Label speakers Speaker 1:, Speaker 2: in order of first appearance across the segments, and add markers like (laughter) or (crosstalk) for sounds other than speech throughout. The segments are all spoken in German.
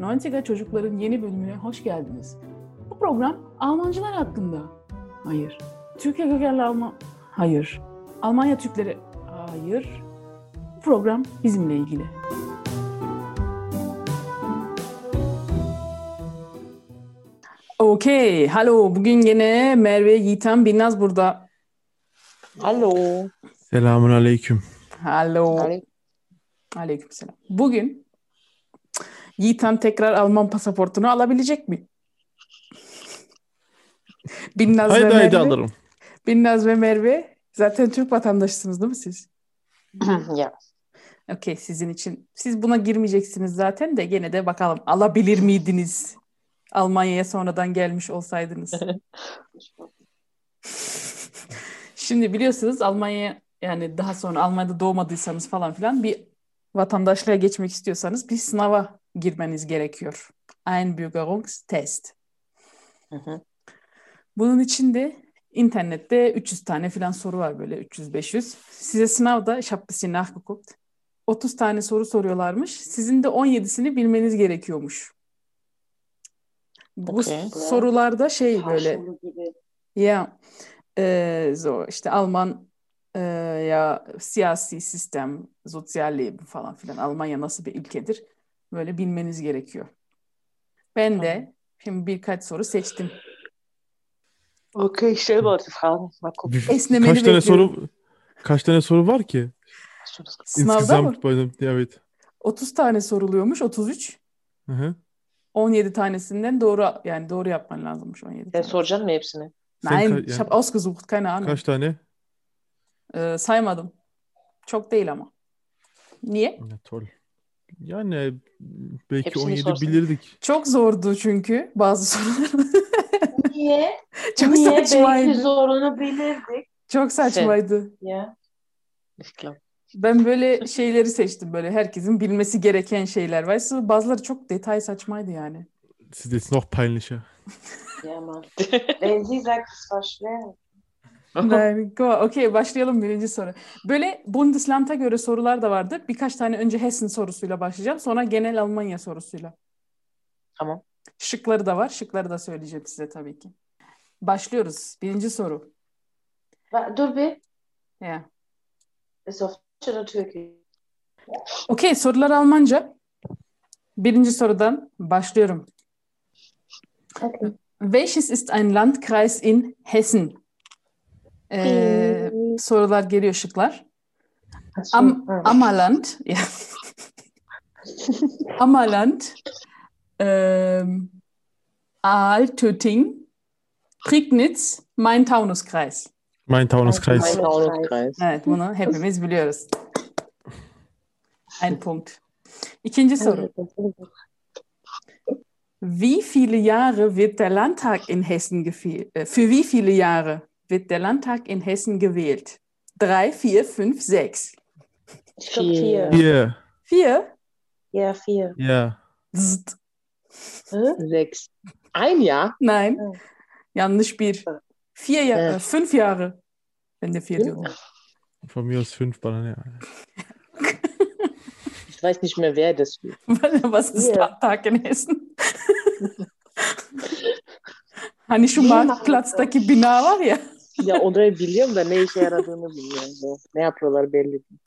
Speaker 1: Dantiga Çocukların yeni bölümüne hoş geldiniz. Bu program Almancılar hakkında. Hayır. Türkiye kökenli Alman... Hayır. Almanya Türkleri... Hayır. Bu program bizimle ilgili. Okey. Halo. Bugün yine Merve Yiğitem Binnaz burada.
Speaker 2: Alo.
Speaker 3: Selamun aleyküm.
Speaker 1: Halo.
Speaker 2: (clears throat)
Speaker 1: Aleykümselam. Bugün Yiğitem tekrar Alman pasaportunu alabilecek mi? (laughs) Binnaz ve
Speaker 3: Haydi haydi
Speaker 1: Merve.
Speaker 3: alırım.
Speaker 1: Binnaz ve Merve. Zaten Türk vatandaşısınız değil mi siz?
Speaker 2: ya.
Speaker 1: Okey sizin için. Siz buna girmeyeceksiniz zaten de gene de bakalım alabilir miydiniz? Almanya'ya sonradan gelmiş olsaydınız. Şimdi biliyorsunuz Almanya yani daha sonra Almanya'da doğmadıysanız falan filan bir vatandaşlığa geçmek istiyorsanız bir sınava girmeniz gerekiyor. Einbürgerungstest.
Speaker 2: Hı hı.
Speaker 1: Bunun için de internette 300 tane falan soru var böyle 300-500. Size sınavda ich hab bisschen nachgeguckt. 30 tane soru soruyorlarmış. Sizin de 17'sini bilmeniz gerekiyormuş. Bu
Speaker 2: Okey.
Speaker 1: sorularda şey böyle ya e, so işte Alman e, ya siyasi sistem, sosyal leben falan filan Almanya nasıl bir ülkedir böyle bilmeniz gerekiyor. Ben de şimdi birkaç soru seçtim. şey
Speaker 2: Okay, ich stelle mal die Fragen. Mal gucken.
Speaker 3: Bir-
Speaker 1: Esnemeni
Speaker 3: kaç tane
Speaker 1: bekliyorum.
Speaker 3: soru kaç tane soru var ki?
Speaker 2: Hast du das gesagt?
Speaker 1: Sınavda mı?
Speaker 3: Insgesamt bei dem- evet.
Speaker 1: 30 tane soruluyormuş 33.
Speaker 3: Hı hı.
Speaker 1: 17 tanesinden doğru yani doğru yapman lazımmış 17
Speaker 2: Sen
Speaker 1: tane.
Speaker 2: soracaksın mı hepsini?
Speaker 3: Sen
Speaker 1: Nein,
Speaker 3: ka-
Speaker 1: ich
Speaker 3: yani
Speaker 1: hab ausgesucht, keine Ahnung.
Speaker 3: kaç tane?
Speaker 1: Ee, saymadım. Çok değil ama. Niye?
Speaker 3: Ya, tol. Yani belki
Speaker 2: Hepsini
Speaker 3: 17
Speaker 2: sorsan.
Speaker 3: bilirdik.
Speaker 1: Çok zordu çünkü bazı (laughs) sorular.
Speaker 2: ne?
Speaker 1: (laughs)
Speaker 4: Niye?
Speaker 1: Çok
Speaker 4: Niye?
Speaker 1: saçmaydı.
Speaker 4: Belki zorunu bilirdik
Speaker 1: Çok saçmaydı.
Speaker 4: ya.
Speaker 2: Ich glaube.
Speaker 1: Ben böyle şeyleri seçtim böyle herkesin bilmesi gereken şeyler. Weißt du, bazıları çok detay saçmaydı yani.
Speaker 3: Siz jetzt noch peinlicher.
Speaker 2: (laughs)
Speaker 4: Ja, Mann. Wenn sie sagt, es war schwer.
Speaker 1: Nein, go. Okey başlayalım birinci soru. Böyle Bundesland'a göre sorular da vardı. Birkaç tane önce Hessen sorusuyla başlayacağım. Sonra genel Almanya sorusuyla.
Speaker 2: Tamam.
Speaker 1: Şıkları da var. Şıkları da söyleyeceğim size tabii ki. Başlıyoruz. Birinci soru.
Speaker 4: Wa- Dur bir.
Speaker 1: Ya.
Speaker 4: Ist auf Deutsch oder Türkisch?
Speaker 1: Okey sorular Almanca. Birinci sorudan başlıyorum.
Speaker 4: Okay.
Speaker 1: Welches ist ein Landkreis in Hessen? Ee, sorular geliyor şıklar.
Speaker 4: Achso,
Speaker 1: Äh, Am, (laughs)
Speaker 4: ah.
Speaker 1: Ammerland. Ja. Ammerland. Ähm, Altötting. Prignitz. Main-Taunus-Kreis.
Speaker 3: Mein Taunuskreis.
Speaker 4: Mein-
Speaker 2: Taunus-Kreis.
Speaker 1: Evet bunu hepimiz biliyoruz. Ein Punkt. İkinci soru. Wie viele Jahre wird der Landtag in Hessen gewählt? Für wie viele Jahre wird der Landtag in Hessen gewählt? Drei, vier, fünf, sechs. Şey,
Speaker 4: Ich glaub,
Speaker 1: e,
Speaker 4: vier.
Speaker 3: Yeah.
Speaker 1: Vier.
Speaker 4: Ja, vier.
Speaker 3: Yeah.
Speaker 1: Zzt.
Speaker 4: Hä?
Speaker 2: Sechs. Ein Jahr?
Speaker 1: Nein.
Speaker 4: Evet.
Speaker 1: Yanlış bir. Vier Jahre,
Speaker 2: Evet.
Speaker 1: äh, fünf Jahre. Wenn der vier diyor. (laughs)
Speaker 3: Von mir aus fünf Bananen. Ja.
Speaker 2: Ich weiß nicht mehr, wer das will.
Speaker 1: Was ist
Speaker 4: Vier.
Speaker 1: Landtag in Hessen? (laughs) hani şu
Speaker 4: Niye
Speaker 1: Marktplatz'taki bina var ya.
Speaker 2: Ya onları biliyorum da ne işe yaradığını bilmiyorum. Bu. Ne yapıyorlar belli değil.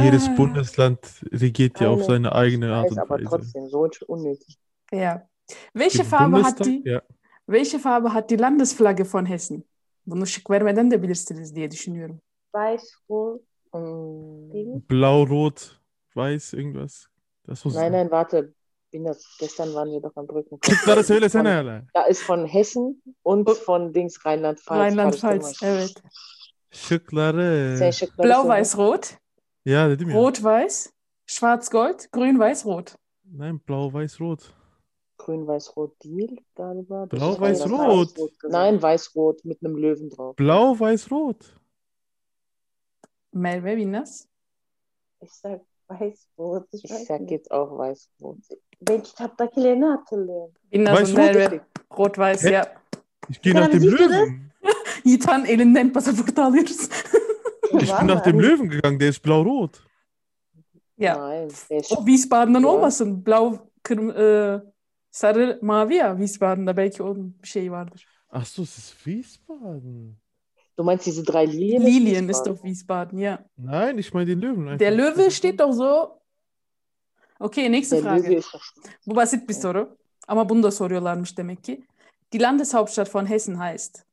Speaker 3: Jedes
Speaker 1: Ah.
Speaker 3: Bundesland regiert ja auf
Speaker 2: Eine.
Speaker 3: seine eigene Art
Speaker 2: Weiß
Speaker 3: und
Speaker 2: aber
Speaker 3: Weise.
Speaker 2: trotzdem so unnötig.
Speaker 1: Ja. Welche
Speaker 3: Im
Speaker 1: Farbe hat
Speaker 3: Bundestag,
Speaker 1: die
Speaker 3: ja.
Speaker 1: Welche Farbe hat die Landesflagge von Hessen? Bunu şık vermeden de bilirsiniz diye düşünüyorum.
Speaker 4: Weiß, rot,
Speaker 2: Hm.
Speaker 4: pink.
Speaker 3: Blau, Rot, Weiß, irgendwas. Das muss
Speaker 2: Nein, nein, warte. Binas, gestern waren wir doch am Brücken.
Speaker 3: Das söylesene hele.
Speaker 2: Da ist von Hessen und von Dings Rheinland-Pfalz.
Speaker 1: Oh. Rheinland-Pfalz.
Speaker 2: Karıştırma.
Speaker 1: Evet.
Speaker 3: Şıkları.
Speaker 2: Sen şıkları söyle.
Speaker 1: Blau-Weiß-Rot,
Speaker 3: Ya dedim ya.
Speaker 1: Rot-Weiß, Schwarz-Gold, Grün-Weiß-Rot.
Speaker 3: Nein, blau, weiß, rot.
Speaker 2: Grün-Weiß-Rot değil galiba. Das
Speaker 3: Blau,
Speaker 2: ist
Speaker 3: Weiß,
Speaker 2: anders.
Speaker 3: Rot.
Speaker 2: Nein, Weiß-Rot mit einem Löwen drauf.
Speaker 3: Blau, weiß, rot.
Speaker 1: Merve Winners.
Speaker 4: Ich sag weiß, rot. Ich,
Speaker 2: Ich
Speaker 4: weiß
Speaker 2: sag
Speaker 4: nicht.
Speaker 2: jetzt auch Weiß-Rot.
Speaker 4: Ben kitaptakilerini hatırlıyorum.
Speaker 1: Winners und
Speaker 3: Weiß-Rot
Speaker 1: Merve. Rot-Weiß
Speaker 3: Hä?
Speaker 1: ya.
Speaker 3: Ich gehe
Speaker 4: Ja,
Speaker 3: nach dem
Speaker 4: siehst du
Speaker 3: Löwen.
Speaker 1: Yiğitan elinden pasaportu
Speaker 3: (laughs)
Speaker 1: alıyoruz.
Speaker 3: Ich bin nach dem Löwen gegangen, der ist blau-rot.
Speaker 1: ya.
Speaker 2: Nein, der ist
Speaker 1: O Wiesbaden'dan
Speaker 2: Ya.
Speaker 1: olmasın. Blau Kırm e, sarı mavi ya Wiesbaden'da belki onun bir şeyi vardır.
Speaker 3: Ach so, es ist Wiesbaden.
Speaker 2: Du meinst diese drei Lilien?
Speaker 1: Lilien ist
Speaker 2: Wiesbaden?
Speaker 1: doch Wiesbaden, ja.
Speaker 3: Nein, ich meine den Löwen. Einfach.
Speaker 1: Der Löwe steht doch so. Okay, nächste
Speaker 2: Der
Speaker 1: Frage.
Speaker 2: Löwe ist doch
Speaker 1: Bu basit bir soru. Ama bunu da soruyorlarmış demek ki. Die Landeshauptstadt von Hessen heißt.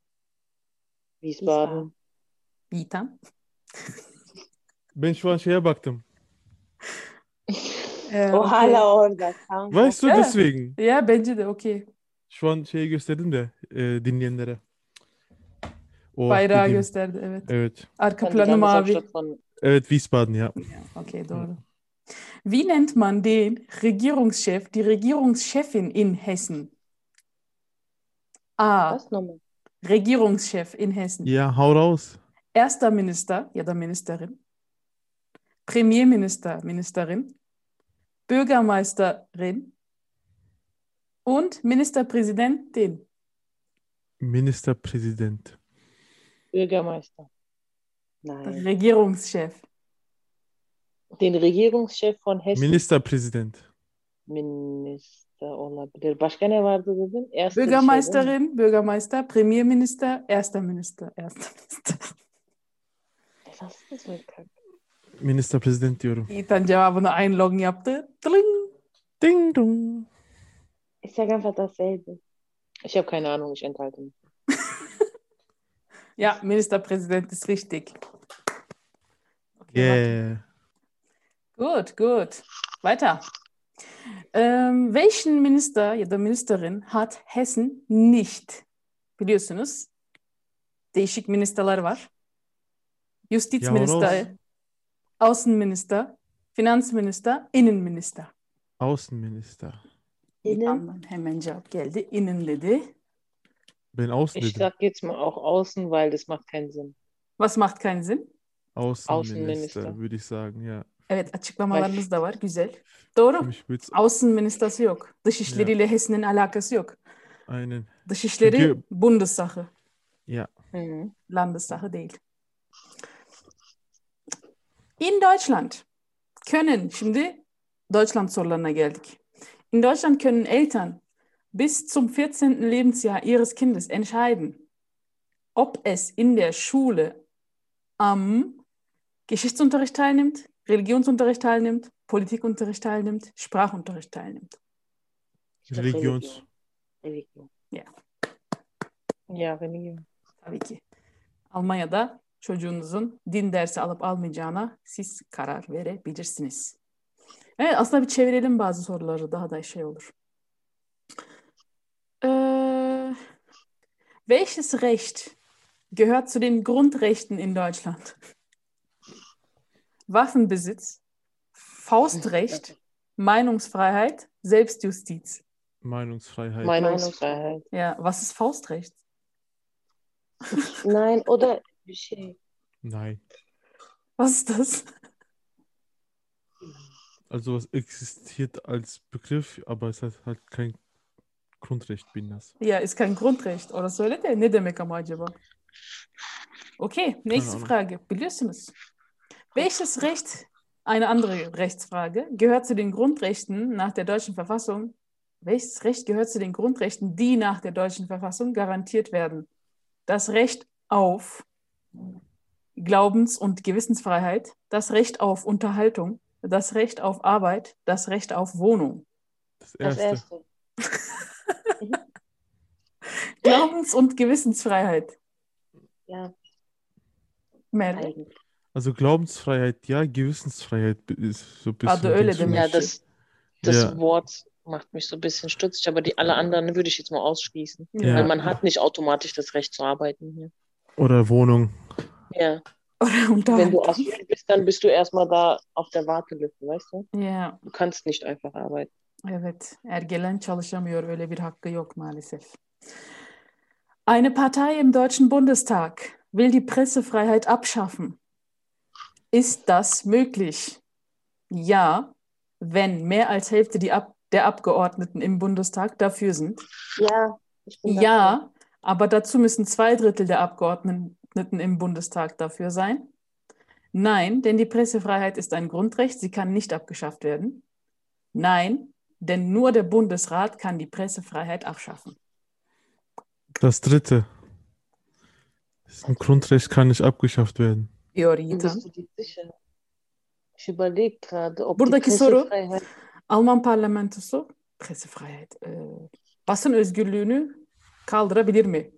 Speaker 2: Wiesbaden.
Speaker 1: Bitan.
Speaker 3: Ben şu an şeye baktım.
Speaker 1: Ee,
Speaker 4: O hala orada. Kanka.
Speaker 3: Weißt du
Speaker 1: Ja.
Speaker 3: deswegen?
Speaker 1: okey. Ya bence de okey.
Speaker 3: Şu an şeyi gösterdim de e, dinleyenlere. O
Speaker 1: Bayrağı
Speaker 3: Oh, dediğim-
Speaker 1: gösterdi evet.
Speaker 3: Evet.
Speaker 1: Arka
Speaker 2: Dann die
Speaker 1: planı mavi.
Speaker 2: Landeshauptstadt von-
Speaker 3: Evet Wiesbaden ya.
Speaker 1: Okay, doğru. Wie nennt man den Regierungschef, die Regierungschefin in Hessen? A.
Speaker 2: Was nochmal?
Speaker 1: Regierungschef in Hessen.
Speaker 3: Ya hau raus.
Speaker 1: Erster Minister, ja, der Ministerin. Premierminister, Ministerin. Bürgermeisterin. Und Ministerpräsidentin.
Speaker 3: Ministerpräsident.
Speaker 2: Bürgermeister. Nein.
Speaker 1: Regierungschef.
Speaker 2: Den Regierungschef von Hessen.
Speaker 3: Ministerpräsident.
Speaker 2: Minister olabilir. Başka ne vardı dedin? Erste bir şey değil mi?
Speaker 1: Bürgermeisterin, Bürgermeister, Premierminister, Erster Minister, Erster (laughs) Minister.
Speaker 2: Nasıl bir kar-
Speaker 3: Ministerpräsident diyorum.
Speaker 1: Yiğitan cevabını aynı yaptı. Tling.
Speaker 3: Ding dong.
Speaker 4: Instagram dasselbe.
Speaker 2: Ich habe keine Ahnung, ich enthalte mich.
Speaker 1: Ja, Ministerpräsident ist richtig. Okay,
Speaker 3: Yeah.
Speaker 1: warte. Gut, gut. Weiter. Ähm, welchen Minister ya da Ministerin hat Hessen nicht? Biliyorsunuz değişik ministerler var.
Speaker 3: Ya,
Speaker 1: Justizminister, Außenminister, Finansminister, Innenminister.
Speaker 3: Außenminister.
Speaker 4: İnan.
Speaker 1: Anlam hemen cevap geldi. İnin dedi.
Speaker 3: Ben außen
Speaker 2: Ich
Speaker 3: dedim.
Speaker 2: sag jetzt mal auch außen, weil das macht keinen Sinn.
Speaker 1: Was macht keinen Sinn?
Speaker 3: Außenminister
Speaker 2: Außenminister.
Speaker 3: würde ich sagen ya.
Speaker 1: Evet açıklamalarınız da var. Güzel. Doğru.
Speaker 3: Ich würde
Speaker 1: Außen Ministası yok. Dışişleriyle HES'in alakası yok.
Speaker 3: einen.
Speaker 1: Dışişleri
Speaker 3: Çünkü-
Speaker 1: Bundessache,
Speaker 2: Mhm.
Speaker 1: Landessache değil. In Deutschland können, şimdi Deutschland sorularına geldik. In Deutschland können Eltern bis zum 14. Lebensjahr ihres Kindes entscheiden, ob es in der Schule am Geschichtsunterricht teilnimmt, Religionsunterricht teilnimmt, Politikunterricht teilnimmt, Sprachunterricht teilnimmt.
Speaker 2: Ich sag
Speaker 3: Religions.
Speaker 2: Religion.
Speaker 1: Ja.
Speaker 2: Ja, Religion.
Speaker 1: Tabii ki. Almanya'da çocuğunuzun din dersi alıp almayacağına siz karar verebilirsiniz. Evet aslında bir çevirelim bazı soruları daha da şey olur. Ee, welches Recht gehört zu den Grundrechten in Deutschland? (laughs) Waffenbesitz, Faustrecht, Meinungsfreiheit, Selbstjustiz.
Speaker 3: Meinungsfreiheit.
Speaker 2: Meinungsfreiheit.
Speaker 1: Ja, was ist Faustrecht?
Speaker 4: Nein o da bir şey.
Speaker 3: Nein.
Speaker 1: Was ist das?
Speaker 3: Also was existiert als Begriff, aber es hat halt kein Grundrecht bin das.
Speaker 1: Ja, ist kein Grundrecht. Oder söyle de ne demek ama acaba? Okay, nächste
Speaker 3: Ahnung.
Speaker 1: Frage. Biliyorsunuz. Welches Recht, eine andere Rechtsfrage, gehört zu den Grundrechten nach der deutschen Verfassung? Welches Recht gehört zu den Grundrechten, die nach der deutschen Verfassung garantiert werden? Das Recht auf Glaubens- und Gewissensfreiheit, das Recht auf Unterhaltung, das Recht auf Arbeit, das Recht auf Wohnung.
Speaker 3: Das
Speaker 4: Das
Speaker 3: erste.
Speaker 4: erste.
Speaker 1: Glaubens- und Gewissensfreiheit.
Speaker 4: Ja.
Speaker 1: Merve.
Speaker 4: Eigentlich.
Speaker 3: Also Glaubensfreiheit, ja, Gewissensfreiheit ist so ein bisschen.
Speaker 1: Also Öle
Speaker 3: Dings für
Speaker 1: dem-
Speaker 2: Ja,
Speaker 3: mich.
Speaker 2: das, das
Speaker 3: Ja.
Speaker 2: Wort macht mich so ein bisschen stutzig, aber die alle anderen würde ich jetzt mal ausschließen.
Speaker 3: Ja.
Speaker 2: Weil man hat nicht automatisch das Recht zu arbeiten hier.
Speaker 3: Oder Wohnung.
Speaker 2: Ja,
Speaker 1: Oder um
Speaker 2: wenn du
Speaker 1: Unterhaltung.
Speaker 2: ausgebildet bist, dann bist du erstmal da auf der Warteliste, weißt du?
Speaker 1: Ya,
Speaker 2: Du kannst nicht einfach arbeiten.
Speaker 1: evet. Ergelen çalışamıyor. Öyle bir hakkı yok maalesef. Eine Partei im Deutschen Bundestag will die Pressefreiheit abschaffen. Ist das möglich? Ja, wenn mehr als Hälfte die Ab der Abgeordneten im Bundestag dafür sind.
Speaker 4: Ja. Ich bin dafür.
Speaker 1: Ja, aber dazu müssen zwei Drittel der Abgeordneten im Bundestag dafür sein. Nein, denn die Pressefreiheit ist ein Grundrecht, sie kann nicht abgeschafft werden. Nein, Denn nur der Bundesrat kann die Pressefreiheit abschaffen.
Speaker 3: Das dritte. Das Grundrecht kann nicht abgeschafft werden.
Speaker 1: Fiorita.
Speaker 4: Bist du dir sicher?
Speaker 2: Ich überlege gerade, ob
Speaker 1: Buradaki
Speaker 2: die
Speaker 1: soru.
Speaker 4: Şey,
Speaker 2: Pressefreiheit-
Speaker 1: Alman parlamentosu pressefreiheit, e, basın özgürlüğünü kaldırabilir mi?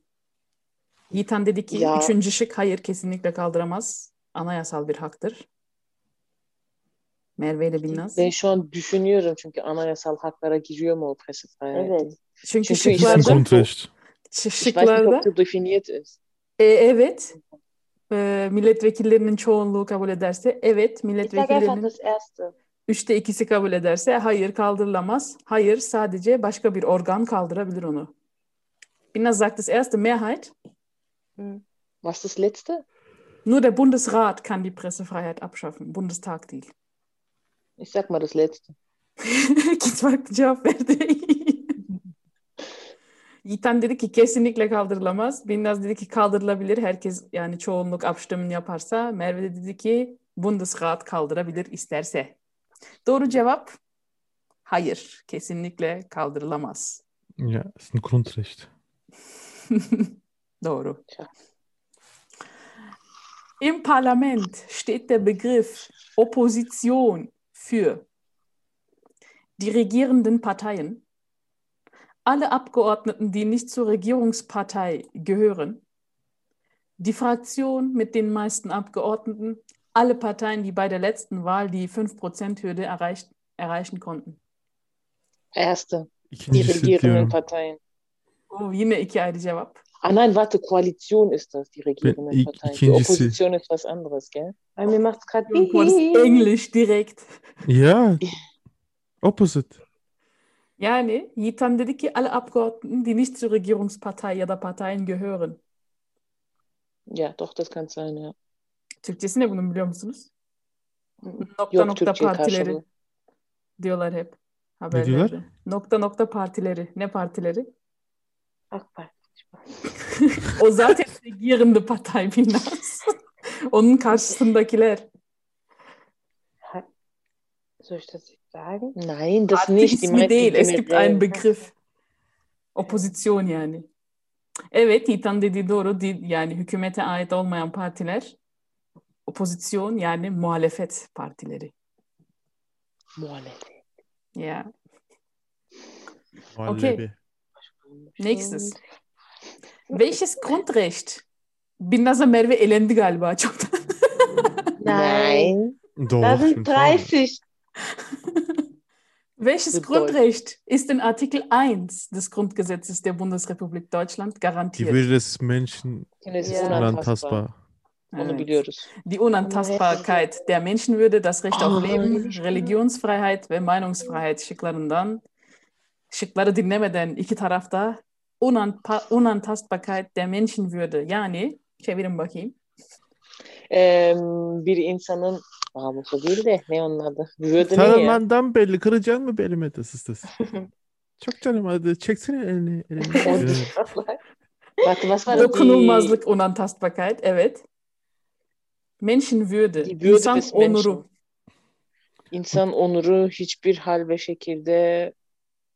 Speaker 1: Yiğitan dedi ki
Speaker 2: Ya.
Speaker 1: üçüncü şık hayır kesinlikle kaldıramaz. Anayasal bir haktır. Merve ile Binnaz.
Speaker 2: Ben şu an düşünüyorum çünkü anayasal haklara giriyor mu o Pressefreiheit?
Speaker 4: Evet.
Speaker 1: Çünkü
Speaker 2: Çünkü
Speaker 3: Das ist ein
Speaker 2: Warte.
Speaker 1: şıklarda,
Speaker 2: Grund-
Speaker 3: Grundrecht.
Speaker 1: şi-
Speaker 2: Ich weiß nicht,
Speaker 1: şıklarda
Speaker 2: ob du definiert ist.
Speaker 1: e, evet e, milletvekillerinin çoğunluğu kabul ederse evet
Speaker 4: Ich sage einfach
Speaker 1: milletvekillerinin
Speaker 4: das Erste.
Speaker 1: üçte ikisi kabul ederse hayır kaldırılamaz. Hayır sadece başka bir organ kaldırabilir onu. Binnaz sagt das erste Mehrheit.
Speaker 2: Was das letzte?
Speaker 1: Nur der Bundesrat kann die Pressefreiheit abschaffen. Bundestag değil.
Speaker 2: Ich sag mal das letzte.
Speaker 1: (laughs) Git farklı cevap verdi. (laughs) Yiğitan dedi ki kesinlikle kaldırılamaz. Binnaz dedi ki kaldırılabilir. Herkes yani çoğunluk abstimmen yaparsa. Merve de dedi ki Bundesrat kaldırabilir isterse. Doğru cevap hayır. Kesinlikle kaldırılamaz.
Speaker 3: Ja, ist ein Grundrecht.
Speaker 1: Doğru.
Speaker 2: Tja.
Speaker 1: Im Parlament steht der Begriff Opposition für die regierenden Parteien, alle Abgeordneten, die nicht zur Regierungspartei gehören, die Fraktion mit den meisten Abgeordneten, alle Parteien, die bei der letzten Wahl die 5%-Hürde erreicht, erreichen konnten.
Speaker 2: Erste. Die
Speaker 3: İkincisi
Speaker 2: regierenden
Speaker 3: diyorum.
Speaker 2: Parteien.
Speaker 1: Oh, yine iki ayrı cevap.
Speaker 2: Ah nein, warte, Koalition ist das, die
Speaker 3: Ben-
Speaker 2: regierenden
Speaker 3: ik-
Speaker 2: Parteien. Die
Speaker 3: ikincisi.
Speaker 2: Opposition ist was anderes, gell?
Speaker 4: Bei mir macht es gerade
Speaker 1: Irgendwo war das Englisch direkt.
Speaker 3: Ja. Opposite.
Speaker 1: Yani Yiğitan dedi ki alle Abgeordneten, die nicht zur Regierungspartei ya da Parteien gehören.
Speaker 2: Ja, doch, das kann sein, ja.
Speaker 1: Türkçesi ne bunun biliyor musunuz? Nokta
Speaker 2: Yok
Speaker 1: nokta
Speaker 2: Türkçe
Speaker 1: partileri
Speaker 2: karşılığı.
Speaker 1: diyorlar hep
Speaker 3: diyorlar?
Speaker 1: haberlerde. Nokta nokta partileri. Ne partileri?
Speaker 4: Ach, bak.
Speaker 1: (laughs) O zaten regierende Partei Binnaz. Onun karşısındakiler.
Speaker 4: Soll ich das jetzt sagen?
Speaker 2: Nein, das
Speaker 1: Artık
Speaker 2: nicht. Die
Speaker 1: ismi
Speaker 2: meisten
Speaker 1: değil. Es gibt einen
Speaker 2: generell.
Speaker 1: Begriff. Opozisyon yani. Evet, Yiğitan dediği doğru. Di- Yani hükümete ait olmayan partiler. Opozisyon yani muhalefet partileri.
Speaker 2: Muhalefet.
Speaker 1: Ya.
Speaker 3: Muhallebi.
Speaker 1: Nächstes. Welches Grundrecht? Binnaz Merve elendi galiba çoktan.
Speaker 2: Nein.
Speaker 3: Doch,
Speaker 4: Da
Speaker 3: ich bin
Speaker 4: sind
Speaker 3: faul.
Speaker 4: 30.
Speaker 1: (laughs) Welches
Speaker 2: Mit
Speaker 1: Grundrecht ist in Artikel 1 des Grundgesetzes der Bundesrepublik Deutschland
Speaker 3: Die
Speaker 1: garantiert?
Speaker 3: Würde des Menschen
Speaker 2: Es ist
Speaker 4: Ja.
Speaker 3: ist
Speaker 2: unantastbar.
Speaker 3: unantastbar.
Speaker 2: Onu
Speaker 1: Evet.
Speaker 2: biliyoruz.
Speaker 1: Die Unantastbarkeit der Menschenwürde, das Recht
Speaker 2: Oh.
Speaker 1: auf Leben, Religionsfreiheit ve Meinungsfreiheit şıklarından şıkları dinlemeden iki tarafta Unantpa- Unantastbarkeit der Menschenwürde yani çevirin bakayım.
Speaker 2: Ee, bir insanın namusu değil de ne onun adı? Würde ne ya?
Speaker 3: Tarlandan belli. Kıracaksın mı belime? Das ist das. Çok canım hadi. Çeksene elini. elini. Evet.
Speaker 2: Warte, was war das?
Speaker 1: Dokunulmazlık, Unantastbarkeit, evet. Menschenwürde,
Speaker 2: Die Würde
Speaker 1: insan
Speaker 2: des Menschen.
Speaker 1: onuru.
Speaker 2: Die, insan onuru hiçbir hal ve şekilde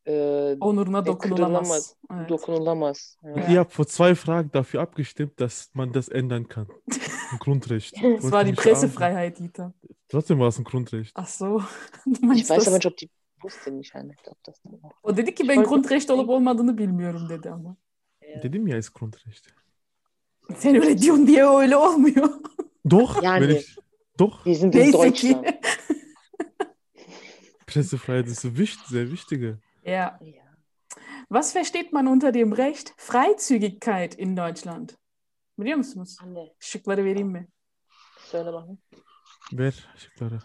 Speaker 2: e,
Speaker 1: Onuruna dokunulamaz.
Speaker 2: kırılamaz,
Speaker 1: Evet.
Speaker 2: dokunulamaz. Evet.
Speaker 3: Ich habe vor zwei Fragen dafür abgestimmt, dass man das ändern kann. Ein Grundrecht.
Speaker 1: Es war die
Speaker 3: Pressefreiheit.
Speaker 1: Pressefreiheit, Dieter.
Speaker 3: Trotzdem war es ein Grundrecht.
Speaker 1: Ach so. (laughs) Du meinst
Speaker 2: Ich weiß
Speaker 1: das.
Speaker 2: aber nicht, ob die wusste nicht, Anne. Ich glaube, das dann auch.
Speaker 1: O dedi ki
Speaker 2: Ich
Speaker 1: ben
Speaker 2: weiß-
Speaker 1: Grundrecht olup olmadığını bilmiyorum dedi ama.
Speaker 3: Dedim ya ist Grundrecht.
Speaker 1: Sen öyle diyorsun diye öyle olmuyor.
Speaker 3: Doch,
Speaker 2: Yani.
Speaker 3: wenn ich, doch,
Speaker 2: Wir sind in
Speaker 1: Neyse ki.
Speaker 2: Deutschland.
Speaker 3: Pressefreiheit ist so wichtig, sehr wichtige.
Speaker 1: ja.
Speaker 2: Ja.
Speaker 1: Was versteht man unter dem Recht Freizügigkeit in Deutschland? Biliyor musunuz?
Speaker 4: Anne.
Speaker 1: Şıkları vereyim mi?
Speaker 2: Söyle bakalım.
Speaker 3: Ver şıkları.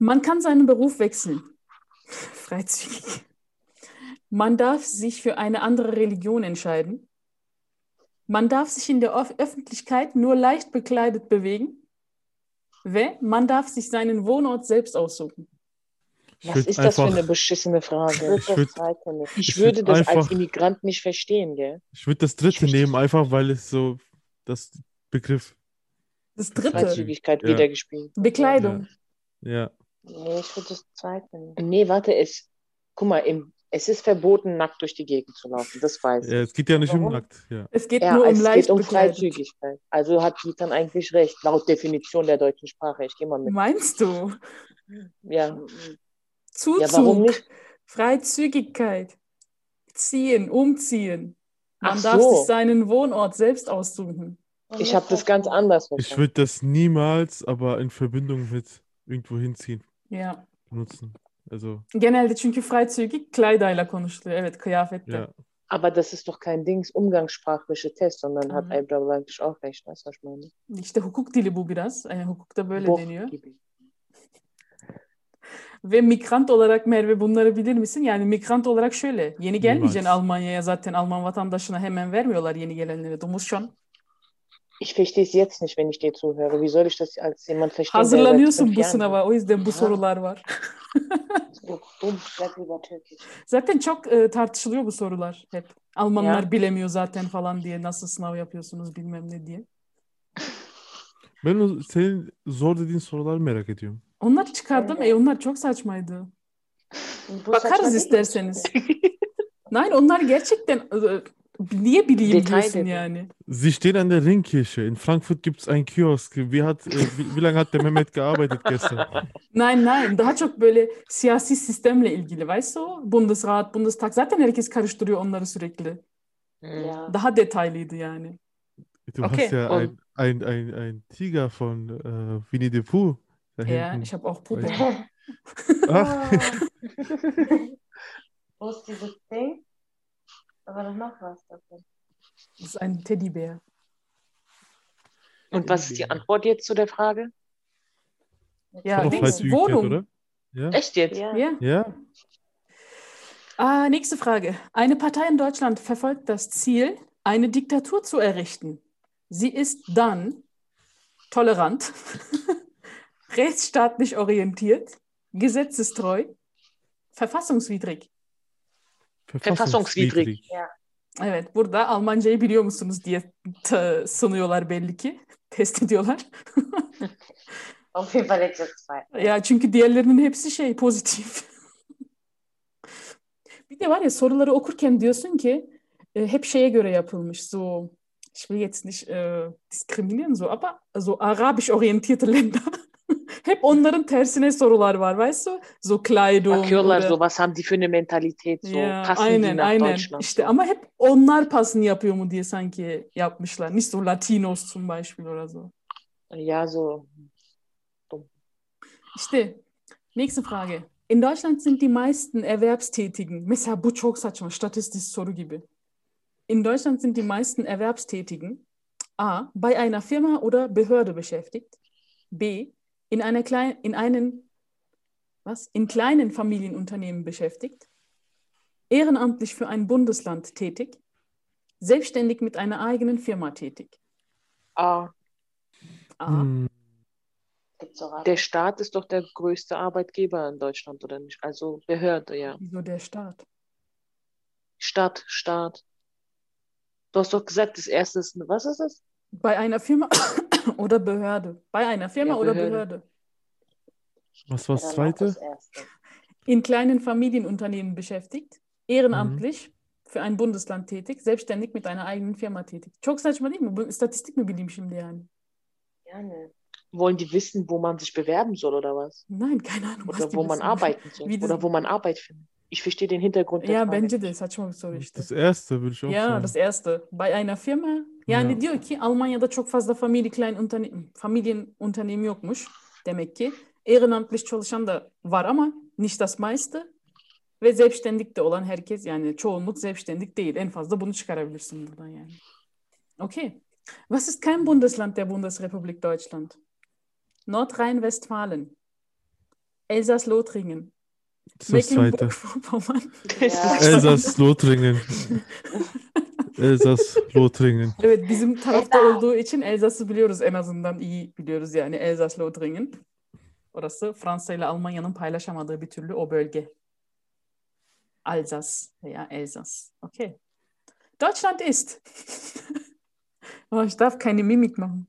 Speaker 1: Man kann seinen Beruf wechseln. (laughs) Freizügig. Man darf sich für eine andere Religion entscheiden. Man darf sich in der Öf- Öffentlichkeit nur leicht bekleidet bewegen. Ve, man darf sich seinen Wohnort selbst aussuchen.
Speaker 3: Ich
Speaker 2: Was
Speaker 3: würde
Speaker 2: ist das für
Speaker 3: einfach,
Speaker 2: eine beschissene Frage?
Speaker 3: Ich würd-
Speaker 4: Das zweite nicht.
Speaker 2: Ich,
Speaker 3: ich
Speaker 2: würde
Speaker 3: würd
Speaker 2: das als
Speaker 3: einfach-
Speaker 2: Immigrant nicht verstehen, gell?
Speaker 3: ich würd das dritte
Speaker 2: Ich versteh-
Speaker 3: nehmen, einfach weil es so das Begriff,
Speaker 1: Das dritte,
Speaker 2: Freizügigkeit
Speaker 3: Ja.
Speaker 2: wiedergespielt.
Speaker 1: Bekleidung.
Speaker 3: ja.
Speaker 4: Nee, ich würde das zweite nehmen.
Speaker 2: Nee, warte, es guck mal, im, es ist verboten, nackt durch die Gegend zu laufen. Das weiß ich.
Speaker 3: Ja, es geht ja nicht um
Speaker 2: Warum?
Speaker 3: nackt. Ja.
Speaker 1: Es geht
Speaker 2: Ja,
Speaker 1: nur um
Speaker 2: es
Speaker 1: leicht
Speaker 2: geht um
Speaker 1: bekleidet.
Speaker 2: Freizügigkeit. Also hat die dann eigentlich recht, laut Definition der deutschen Sprache. Ich gehe mal mit.
Speaker 1: Meinst du? Mhm.
Speaker 2: Ja,
Speaker 1: Zuzug,
Speaker 2: ja warum nicht?
Speaker 1: Freizügigkeit, ziehen, umziehen. Man
Speaker 2: Ach
Speaker 1: darf
Speaker 2: so.
Speaker 1: sich seinen Wohnort selbst aussuchen.
Speaker 2: Ich habe das ganz anders
Speaker 3: Ich
Speaker 2: verstanden.
Speaker 3: würde das niemals, aber in Verbindung mit irgendwo hinziehen
Speaker 1: Ya.
Speaker 3: benutzen. Also
Speaker 1: Genelde çünkü freizügig klaydayla konuşuluyor. Evet kıyafetle.
Speaker 3: ja,
Speaker 2: Aber das ist doch kein Dings umgangssprachliche Test, sondern hat
Speaker 1: Mhm.
Speaker 2: Ebra eigentlich auch recht. Weißt du, was ich meine?
Speaker 1: İşte hukuk dili bu biraz. Yani hukukta böyle
Speaker 2: Boch
Speaker 1: deniyor.
Speaker 2: gibi.
Speaker 1: Ve migrant olarak Merve bunları bilir misin? Yani migrant olarak şöyle. Yeni gelmeyeceksin
Speaker 3: Bilmez.
Speaker 1: Almanya'ya zaten Alman vatandaşına hemen vermiyorlar yeni gelenlere. Du musst schon.
Speaker 2: Ich verstehe es jetzt nicht, wenn ich dir zuhöre. Wie soll ich das als jemand verstehen? der seit
Speaker 1: Hazırlanıyorsun
Speaker 2: fünf
Speaker 1: bu
Speaker 2: Jahren-
Speaker 1: sınava. O yüzden bu
Speaker 2: Aha.
Speaker 1: sorular var.
Speaker 4: Yok, dumm, bleib lieber türkisch.
Speaker 1: Zaten çok e, tartışılıyor bu sorular hep. Almanlar bilemiyor zaten falan diye nasıl sınav yapıyorsunuz bilmem ne diye.
Speaker 3: ben o, senin zor dediğin soruları merak ediyorum.
Speaker 1: Onlar çıkardım. E onlar çok saçmaydı.
Speaker 4: Bu saçma
Speaker 1: Bakarız
Speaker 4: değil mi? (laughs)
Speaker 1: isterseniz. Nein onlar gerçekten e, niye bileyim
Speaker 2: Detay
Speaker 1: diyorsun
Speaker 2: dedi.
Speaker 1: yani.
Speaker 3: Sie stehen an der Ringkirche. In Frankfurt gibt es einen Kiosk. Wie, hat, äh, wie, wie lange hat der Mehmet gearbeitet gestern?
Speaker 1: Nein nein daha çok böyle siyasi sistemle ilgili. Weißt du? Bundesrat, Bundestag zaten herkes karıştırıyor onları sürekli.
Speaker 2: Hm.
Speaker 4: Ja.
Speaker 1: Daha detaylıydı yani.
Speaker 3: Du
Speaker 1: Okay.
Speaker 3: hast ja
Speaker 2: Und-
Speaker 3: ein, ein, ein, ein Tiger von äh, Winnie the Pooh da
Speaker 1: Ja,
Speaker 3: hinten.
Speaker 1: ich habe auch Puppe.
Speaker 3: Weiß
Speaker 4: (laughs)
Speaker 3: Ach,
Speaker 4: Wo ist dieses Ding? Aber doch noch was davon.
Speaker 1: Das ist ein Teddybär.
Speaker 2: Und was ist die Antwort jetzt zu der Frage?
Speaker 3: (laughs)
Speaker 1: Ja,
Speaker 3: auch
Speaker 1: Dings,
Speaker 3: Freizügigkeit,
Speaker 1: Wohnung.
Speaker 3: oder? Ja.
Speaker 2: Echt jetzt?
Speaker 4: Ja.
Speaker 1: Ja.
Speaker 3: ja.
Speaker 1: Ah, nächste Frage. Eine Partei in Deutschland verfolgt das Ziel, eine Diktatur zu errichten. Sie ist dann tolerant, (laughs) rechtsstaatlich orientiert, gesetzestreu, verfassungswidrig.
Speaker 3: Verfassungswidrig.
Speaker 1: Evet, burada Almancayı biliyor musunuz diye t- sunuyorlar belli ki. Test ediyorlar.
Speaker 4: Auf jeden Fall jetzt das zweite.
Speaker 1: Ya çünkü diğerlerinin hepsi şey pozitif. (laughs) Bir de var ya soruları okurken diyorsun ki e, hep şeye göre yapılmış. So, ich will jetzt nicht e, diskriminieren so aber so arabisch orientierte Länder. (laughs) Hep onların tersine sorular var. Weißt du? So Kleidung.
Speaker 2: Bakıyorlar
Speaker 1: oder-
Speaker 2: so, was haben die für eine Mentalität? So,
Speaker 1: Ya,
Speaker 2: passen die
Speaker 1: aynen
Speaker 2: nach
Speaker 1: aynen.
Speaker 2: Deutschland?
Speaker 1: İşte ama hep onlar pasını yapıyor mu diye sanki yapmışlar. Nicht so Latinos zum Beispiel oder so.
Speaker 2: Ja, so.
Speaker 1: İşte nächste Frage. In Deutschland sind die meisten Erwerbstätigen, mesela bu çok saçma, statistik soru gibi. In Deutschland sind die meisten Erwerbstätigen A. bei einer Firma oder Behörde beschäftigt. B. in einer klein, in einen was? In kleinen Familienunternehmen beschäftigt. Ehrenamtlich für ein Bundesland tätig. Selbstständig mit einer eigenen Firma tätig.
Speaker 2: Ah,
Speaker 1: A.
Speaker 3: Hm.
Speaker 4: Gibt's auch
Speaker 2: der Staat ist doch der größte Arbeitgeber in Deutschland, oder nicht? Also Behörde, ja.
Speaker 1: Wieso der Staat?
Speaker 2: Stadt, Staat. Du hast doch gesagt, das erste ist, was ist es?
Speaker 1: Bei einer Firma (coughs) oder Behörde. Bei einer Firma
Speaker 2: Ja,
Speaker 1: oder
Speaker 2: Behörde.
Speaker 1: Behörde.
Speaker 3: Was war das
Speaker 4: dann auch
Speaker 3: zweite?
Speaker 4: das erste.
Speaker 1: In kleinen Familienunternehmen beschäftigt, ehrenamtlich
Speaker 2: Mhm.
Speaker 1: für ein Bundesland tätig, selbstständig mit einer eigenen Firma tätig. Çok saçma değil mi? Bu statistik mi bileyim şimdi yani?
Speaker 4: Gerne.
Speaker 2: Wollen die wissen, wo man sich bewerben soll oder was?
Speaker 1: Nein, keine Ahnung. was
Speaker 2: Oder
Speaker 1: die
Speaker 2: wo man
Speaker 1: wissen.
Speaker 2: arbeiten soll?
Speaker 1: Wie das-
Speaker 2: Oder wo man Arbeit findet? Ich verstehe den Hintergrund der
Speaker 1: Ja,
Speaker 2: Frage.
Speaker 1: bence de saçma bir soru işte.
Speaker 3: Das erste würde ich auch
Speaker 1: Ja,
Speaker 3: sagen.
Speaker 1: das erste. Bei einer Firma. Yani
Speaker 3: Ja.
Speaker 1: diyor ki Almanya'da çok fazla family klein unterne Familienunternehmer yokmuş demek ki. Ehrenamtlich çalışan da var ama nicht das meiste. Ve selbstständig de olan herkes yani çoğunluk selbstständig değil. En fazla bunu çıkarabilirsin buradan yani. Okay. Was ist kein Bundesland der Bundesrepublik Deutschland? Nordrhein-Westfalen, Elsass-Lothringen,
Speaker 3: Das, ist das zweite.
Speaker 1: Mecklenburg-Vorpommern.
Speaker 4: Ja.
Speaker 3: Elsass, Lothringen.
Speaker 2: (laughs)
Speaker 3: Elsass, Lothringen.
Speaker 1: Evet bizim tarafta olduğu için Elzas'ı biliyoruz en azından iyi biliyoruz yani Elzas Lothringen. Orası Fransa ile Almanya'nın paylaşamadığı bir türlü o bölge. Alsas veya Elzas. Okay. Deutschland ist. (laughs) Oh, ich darf keine Mimik machen.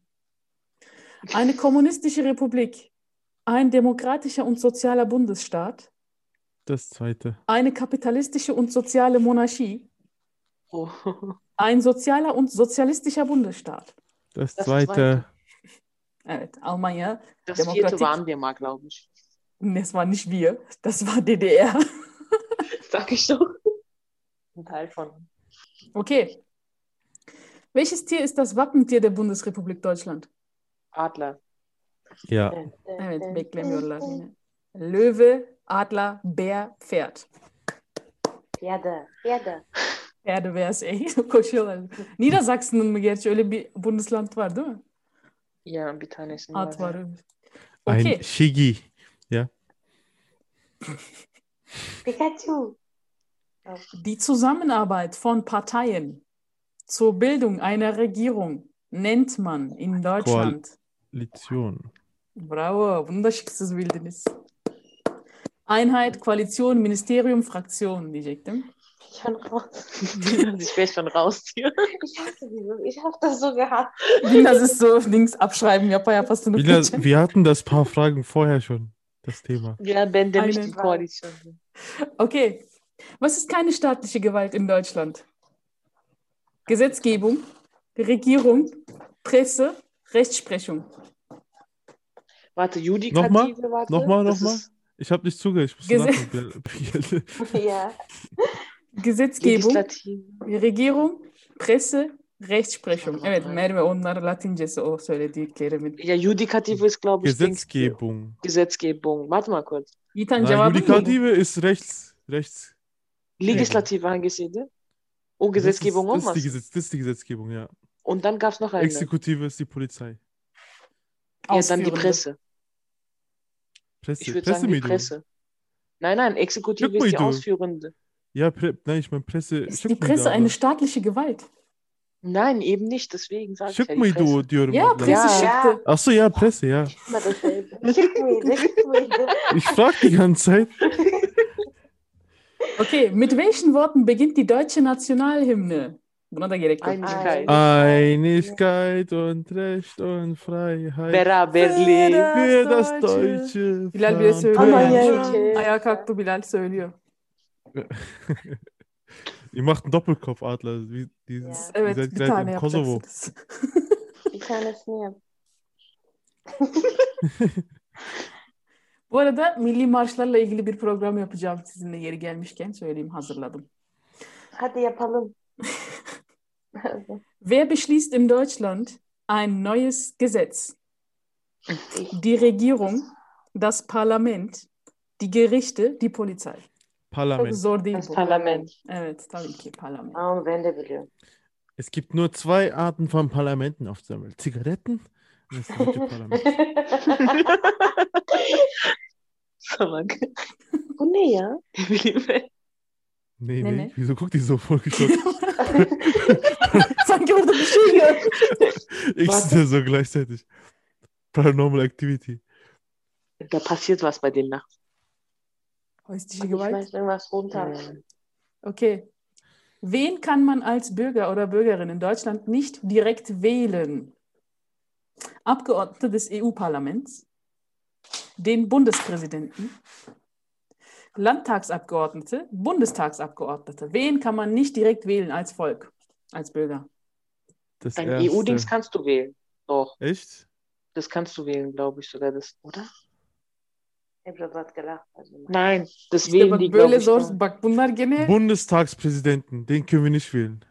Speaker 1: Eine kommunistische Republik, ein demokratischer und sozialer Bundesstaat,
Speaker 3: das zweite.
Speaker 1: Eine kapitalistische und soziale Monarchie.
Speaker 2: Oh.
Speaker 1: Ein sozialer und sozialistischer Bundesstaat.
Speaker 3: Das,
Speaker 2: Das
Speaker 3: zweite.
Speaker 2: zweite.
Speaker 1: Evet, Äh, Almanya.
Speaker 2: Das
Speaker 1: Demokratik.
Speaker 2: vierte waren wir mal, glaube ich.
Speaker 1: Das war nicht wir, das war DDR.
Speaker 2: Sag ich doch. Ein Teil von.
Speaker 1: (laughs) Okay. Welches Tier ist das Wappentier der Bundesrepublik Deutschland?
Speaker 2: Adler.
Speaker 3: Ja.
Speaker 1: Evet, beklemiyorlar yine. Löwe, Adler, Bär, Pferd.
Speaker 4: Piyade. Piyade.
Speaker 1: Pferde beyaz ey (laughs) koşuyorlar. Niedersachsen'ın mı gerçi öyle bir Bundesland var değil mi?
Speaker 2: Ya bir tanesini.
Speaker 1: At var. öyle.
Speaker 3: Ein
Speaker 1: Okey.
Speaker 3: Shigi.
Speaker 4: Pikachu.
Speaker 1: Die Zusammenarbeit von Parteien zur Bildung einer Regierung nennt man in Deutschland.
Speaker 3: Lition.
Speaker 1: Bravo, bunu da şıksız bildiniz. Einheit, Koalition, Ministerium, Fraktion diyecektim.
Speaker 4: Ich bin raus.
Speaker 2: (laughs) ich werde schon raus hier.
Speaker 4: Ich hasse dieses. Ich habe das so gehabt. (laughs)
Speaker 1: Biraz ist also so links abschreiben, yapa yapa sınıf
Speaker 3: Bilal,
Speaker 1: geçen.
Speaker 3: wir hatten das paar Fragen vorher schon, das Thema.
Speaker 2: Ja ben demiştim
Speaker 1: Aynen.
Speaker 2: koalisyon.
Speaker 1: Okay. Was ist keine staatliche Gewalt in Deutschland? Gesetzgebung, Regierung, Presse, Rechtsprechung.
Speaker 2: Warte Judikative
Speaker 3: Nochmal?
Speaker 2: warte.
Speaker 3: Nochmal,
Speaker 2: Das
Speaker 3: nochmal?
Speaker 2: ist
Speaker 3: Ich habe nicht zugehört. Ich musste
Speaker 1: Gese-
Speaker 3: (laughs) nachdenken. Bilal.
Speaker 4: Ja.
Speaker 1: Gesetzgebung,
Speaker 2: Legislative.
Speaker 1: Regierung, Presse, Rechtsprechung. Evet, Merve onlar Latincesi o söylediklerimin.
Speaker 2: Ja Judikative ist glaube ich Dings-
Speaker 3: Gesetzgebung.
Speaker 2: Gesetzgebung. Warte mal kurz.
Speaker 1: Yiğitan
Speaker 3: Na,
Speaker 1: cevabın neydi?
Speaker 3: Judikative ist rechts. Rechts.
Speaker 2: Legislative hangisiydi? O gesetzgebung
Speaker 3: das ist, das ist, die,
Speaker 2: olmaz.
Speaker 3: Gesetz, das ist die Gesetzgebung, ja.
Speaker 2: Und dann gab es noch eine.
Speaker 3: Exekutive ist die
Speaker 2: ja,
Speaker 3: Polizei.
Speaker 2: dann die
Speaker 1: Ausführende.
Speaker 2: Presse.
Speaker 3: Presse.
Speaker 2: Ich würde sagen die
Speaker 3: Pressemedium.
Speaker 2: Presse. Nein, nein, Exekutive ist die
Speaker 3: Rückmeldung.
Speaker 2: ausführende.
Speaker 3: Ja, Pre nein, ich meine Presse.
Speaker 1: Ist die
Speaker 3: Schickmüydu
Speaker 1: Presse eine
Speaker 3: aber.
Speaker 1: staatliche Gewalt?
Speaker 2: Nein, eben nicht, deswegen sage ich ja die
Speaker 3: Schickmüydu
Speaker 2: Presse.
Speaker 3: diyorum.
Speaker 1: Ja,
Speaker 3: ben.
Speaker 1: Presse
Speaker 2: Ja.
Speaker 1: schickte.
Speaker 3: Achso, ja, Presse, ja.
Speaker 4: Immer dasselbe. Schick mir, das schick mir.
Speaker 3: Ich frage die ganze Zeit.
Speaker 1: Okay, mit welchen Worten beginnt die deutsche Nationalhymne? Buna da gerek yok.
Speaker 2: Einigkeit.
Speaker 3: Einigkeit und Recht und Freiheit
Speaker 2: Beraberlik.
Speaker 3: für das deutsche
Speaker 1: Bilal bile söylüyor.
Speaker 4: Aman
Speaker 1: yani.
Speaker 4: ya.
Speaker 3: Oh
Speaker 1: Şu an Ayağa kalktı Bilal söylüyor.
Speaker 3: Ihr macht einen Doppelkopfadler. Wie, dieses,
Speaker 4: Ja.
Speaker 1: Evet
Speaker 3: ihr seid
Speaker 1: bir
Speaker 3: gerade
Speaker 1: tane
Speaker 3: im Kosovo.
Speaker 1: yapacaksınız. (laughs)
Speaker 4: Ich kann es mir.
Speaker 1: Bu arada milli marşlarla ilgili bir program yapacağım sizinle yeri gelmişken söyleyeyim hazırladım.
Speaker 4: Hadi yapalım.
Speaker 1: Wer beschließt in Deutschland ein neues Gesetz? Die Regierung, das Parlament, die Gerichte, die Polizei. Çok
Speaker 3: Parlament.
Speaker 1: zor değil
Speaker 4: Das
Speaker 1: bu.
Speaker 4: (laughs) Parlament.
Speaker 1: Evet tabii ki parlament. (laughs)
Speaker 4: Ama ben de biliyorum.
Speaker 3: Es gibt nur zwei Arten von Parlamenten auf der Welt. Zigaretten und das (laughs) deutsche Parlament.
Speaker 2: Salak. (laughs)
Speaker 4: Bu ne ya?
Speaker 2: Ne bileyim ben.
Speaker 3: Nee,
Speaker 1: Nee,
Speaker 3: nee,
Speaker 1: nee.
Speaker 3: Wieso guckt die so (laughs) vollgeschockt?
Speaker 1: Sanki orada bir şey yok.
Speaker 3: ich sehe so gleichzeitig. Paranormal Activity.
Speaker 2: Da passiert was bei denen nachts.
Speaker 1: Häusliche
Speaker 4: Ich
Speaker 1: Gewalt.
Speaker 4: weiß irgendwas runter.
Speaker 1: Okay. Wen kann man als Bürger oder Bürgerin in Deutschland nicht direkt wählen? Abgeordnete des EU-Parlaments, den Bundespräsidenten, Landtagsabgeordnete, Bundestagsabgeordnete. Wen kann man nicht direkt wählen als Volk, als Bürger?
Speaker 3: Das
Speaker 2: Dein
Speaker 3: erste.
Speaker 2: EU-Dings E kannst du wählen. Doch,
Speaker 3: Echt?
Speaker 2: das kannst du wählen, glaube ich sogar. Das, oder?
Speaker 4: Ebru hat gelacht.
Speaker 2: Nein, das
Speaker 1: İşte
Speaker 2: wählen
Speaker 1: bak
Speaker 2: die, glaube
Speaker 1: böyle
Speaker 2: ich.
Speaker 1: zor.
Speaker 2: da.
Speaker 1: Bak bunlar gene
Speaker 3: Bundestagspräsidenten, den können wir nicht wählen.